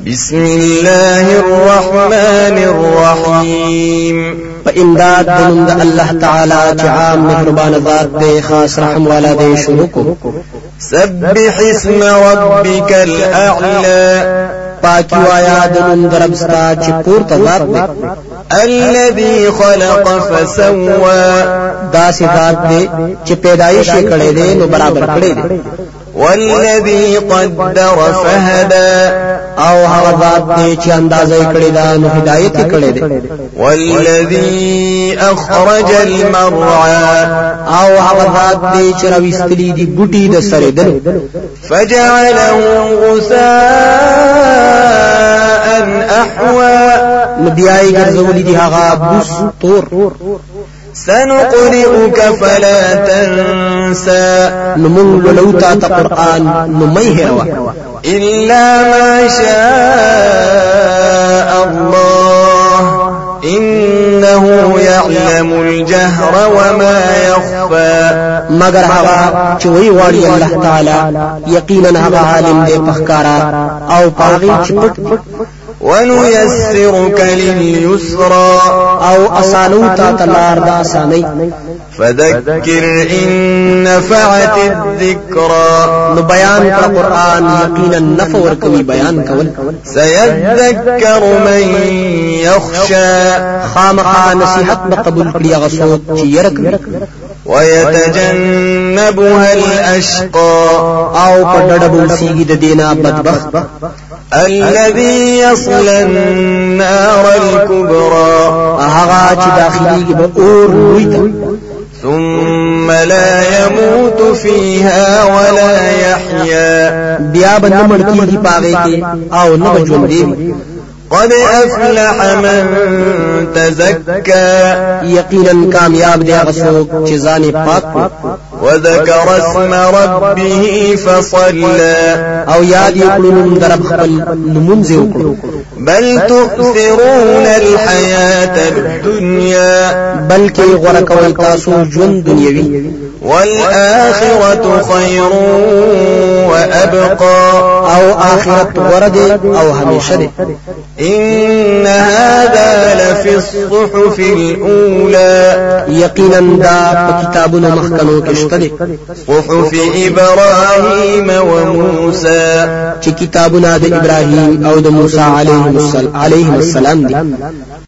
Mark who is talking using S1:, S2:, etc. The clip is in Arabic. S1: بسم الله الرحمن الرحيم
S2: په امداد د نوم د الله تعالی چې عام مهربان ذات دی خاص رحم والا دی شروع کو
S1: سبح اسم ربك الأعلى
S2: پاکی وایا د نوم د رب ستا چې پورته ذات دی
S1: الذي خلق فسوى
S2: دا صفات دی چې پیدایش یې کړی دی نو برابر کړی دی
S1: والذي قدر فهدى
S2: او هغه ذات دی چې اندازې کړی دا نو هدایت یې کړی دی
S1: والذي أخرج المرعى
S2: او هغه ذات دی چې راويستلی دی بوټي د سره دل
S1: فجعله غثاء أحوى
S2: نو بیا یې ګرځولې دی هغه بوس تور
S1: سنقرئك فلا تنسى
S2: نو مونږ لولو تا ته قران نو مې هروا
S1: إلا ما شاء الله إنه يعلم الجهر وما يخفى
S2: مگر هغه چې وی واړي الله تعالی یقینا هغه عالم دی پخکارا او پاغي چې پټ دی.
S1: ونيسرك لليسرى
S2: او اسانو تا تلار دا اساني
S1: فذكر إن نفعت
S2: نو
S1: الذكرى
S2: بیان کړه قران یقینا نفور کوي بیان کول
S1: سيذكر من يخشى
S2: خامخا نصیحت به قبول کړي هغه څوک چې یره کوي
S1: ويتجنبها الأشقى
S2: او په ډډه بوسیږي د دینه بدبخت
S1: الذي يصلى النار الكبرى
S2: هغه چې داخليږي به اور لوی ته
S1: ثم لا يموت فيها ولا يحيا
S2: بیا به نه مړ کیږي پاغې کې او نه به ژوندې وي.
S1: قد أفلح من تزكى
S2: یقینا کامیاب دی هغه څوک چې ځان یې پاک کړي
S1: وذكر اسم ربه فصلى
S2: او یاد یې کړو نوم در خپل نمونځ یې وکړو
S1: بل تؤثرون الحياة الدنيا
S2: بلکې غوړه کوي تاسو ژوند دنیوي
S1: والآخرة خير وأبقى
S2: او آخرت غوړه دی او همیشه دی
S1: إن هذا لفي الصحف الأولى
S2: یقینا دا په کتابونو مخکنو کې شته دی
S1: صحف إبراهيم وموسى
S2: چې کتابونه د ابراهیم او د موسی علیه السلام علیه السلام دي